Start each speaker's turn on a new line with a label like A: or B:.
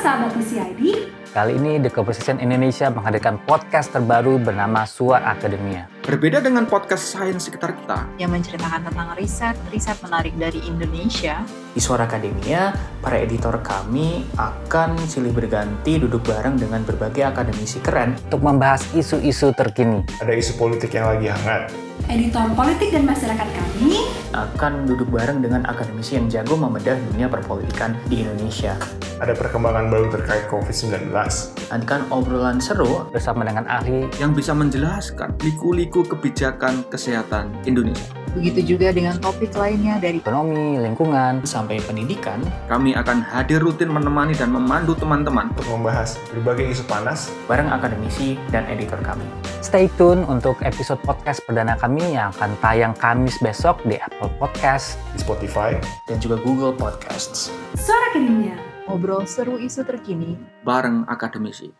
A: sahabat UCID,
B: Kali ini The Conversation Indonesia menghadirkan podcast terbaru bernama Suar Akademia.
C: Berbeda dengan podcast sains sekitar kita,
D: yang menceritakan tentang riset-riset menarik dari Indonesia.
E: Di Suara Akademia, para editor kami akan silih berganti duduk bareng dengan berbagai akademisi keren.
B: Untuk membahas isu-isu terkini,
F: ada isu politik yang lagi hangat.
A: editor politik dan masyarakat kami,
E: Akan duduk bareng dengan akademisi yang jago membedah dunia perpolitikan di Indonesia.
F: Ada perkembangan baru terkait COVID-19.
E: Nantikan obrolan seru
B: bersama dengan ahli
C: yang bisa menjelaskan liku-liku kebijakan kesehatan Indonesia.
D: Begitu juga dengan topik lainnya dari
B: ekonomi, lingkungan,
E: sampai pendidikan.
C: Kami akan hadir rutin menemani dan memandu teman-teman.
F: Untuk membahas berbagai isu panas,
E: bareng akademisi dan editor kami.
B: Stay tune untuk episode podcast perdana kami yang akan tayang Kamis besok di Apple Podcast.
F: di Spotify,
E: Dan juga Google Podcasts.
A: Suara Akademia.
D: ngobrol seru isu terkini
C: Bareng akademisi.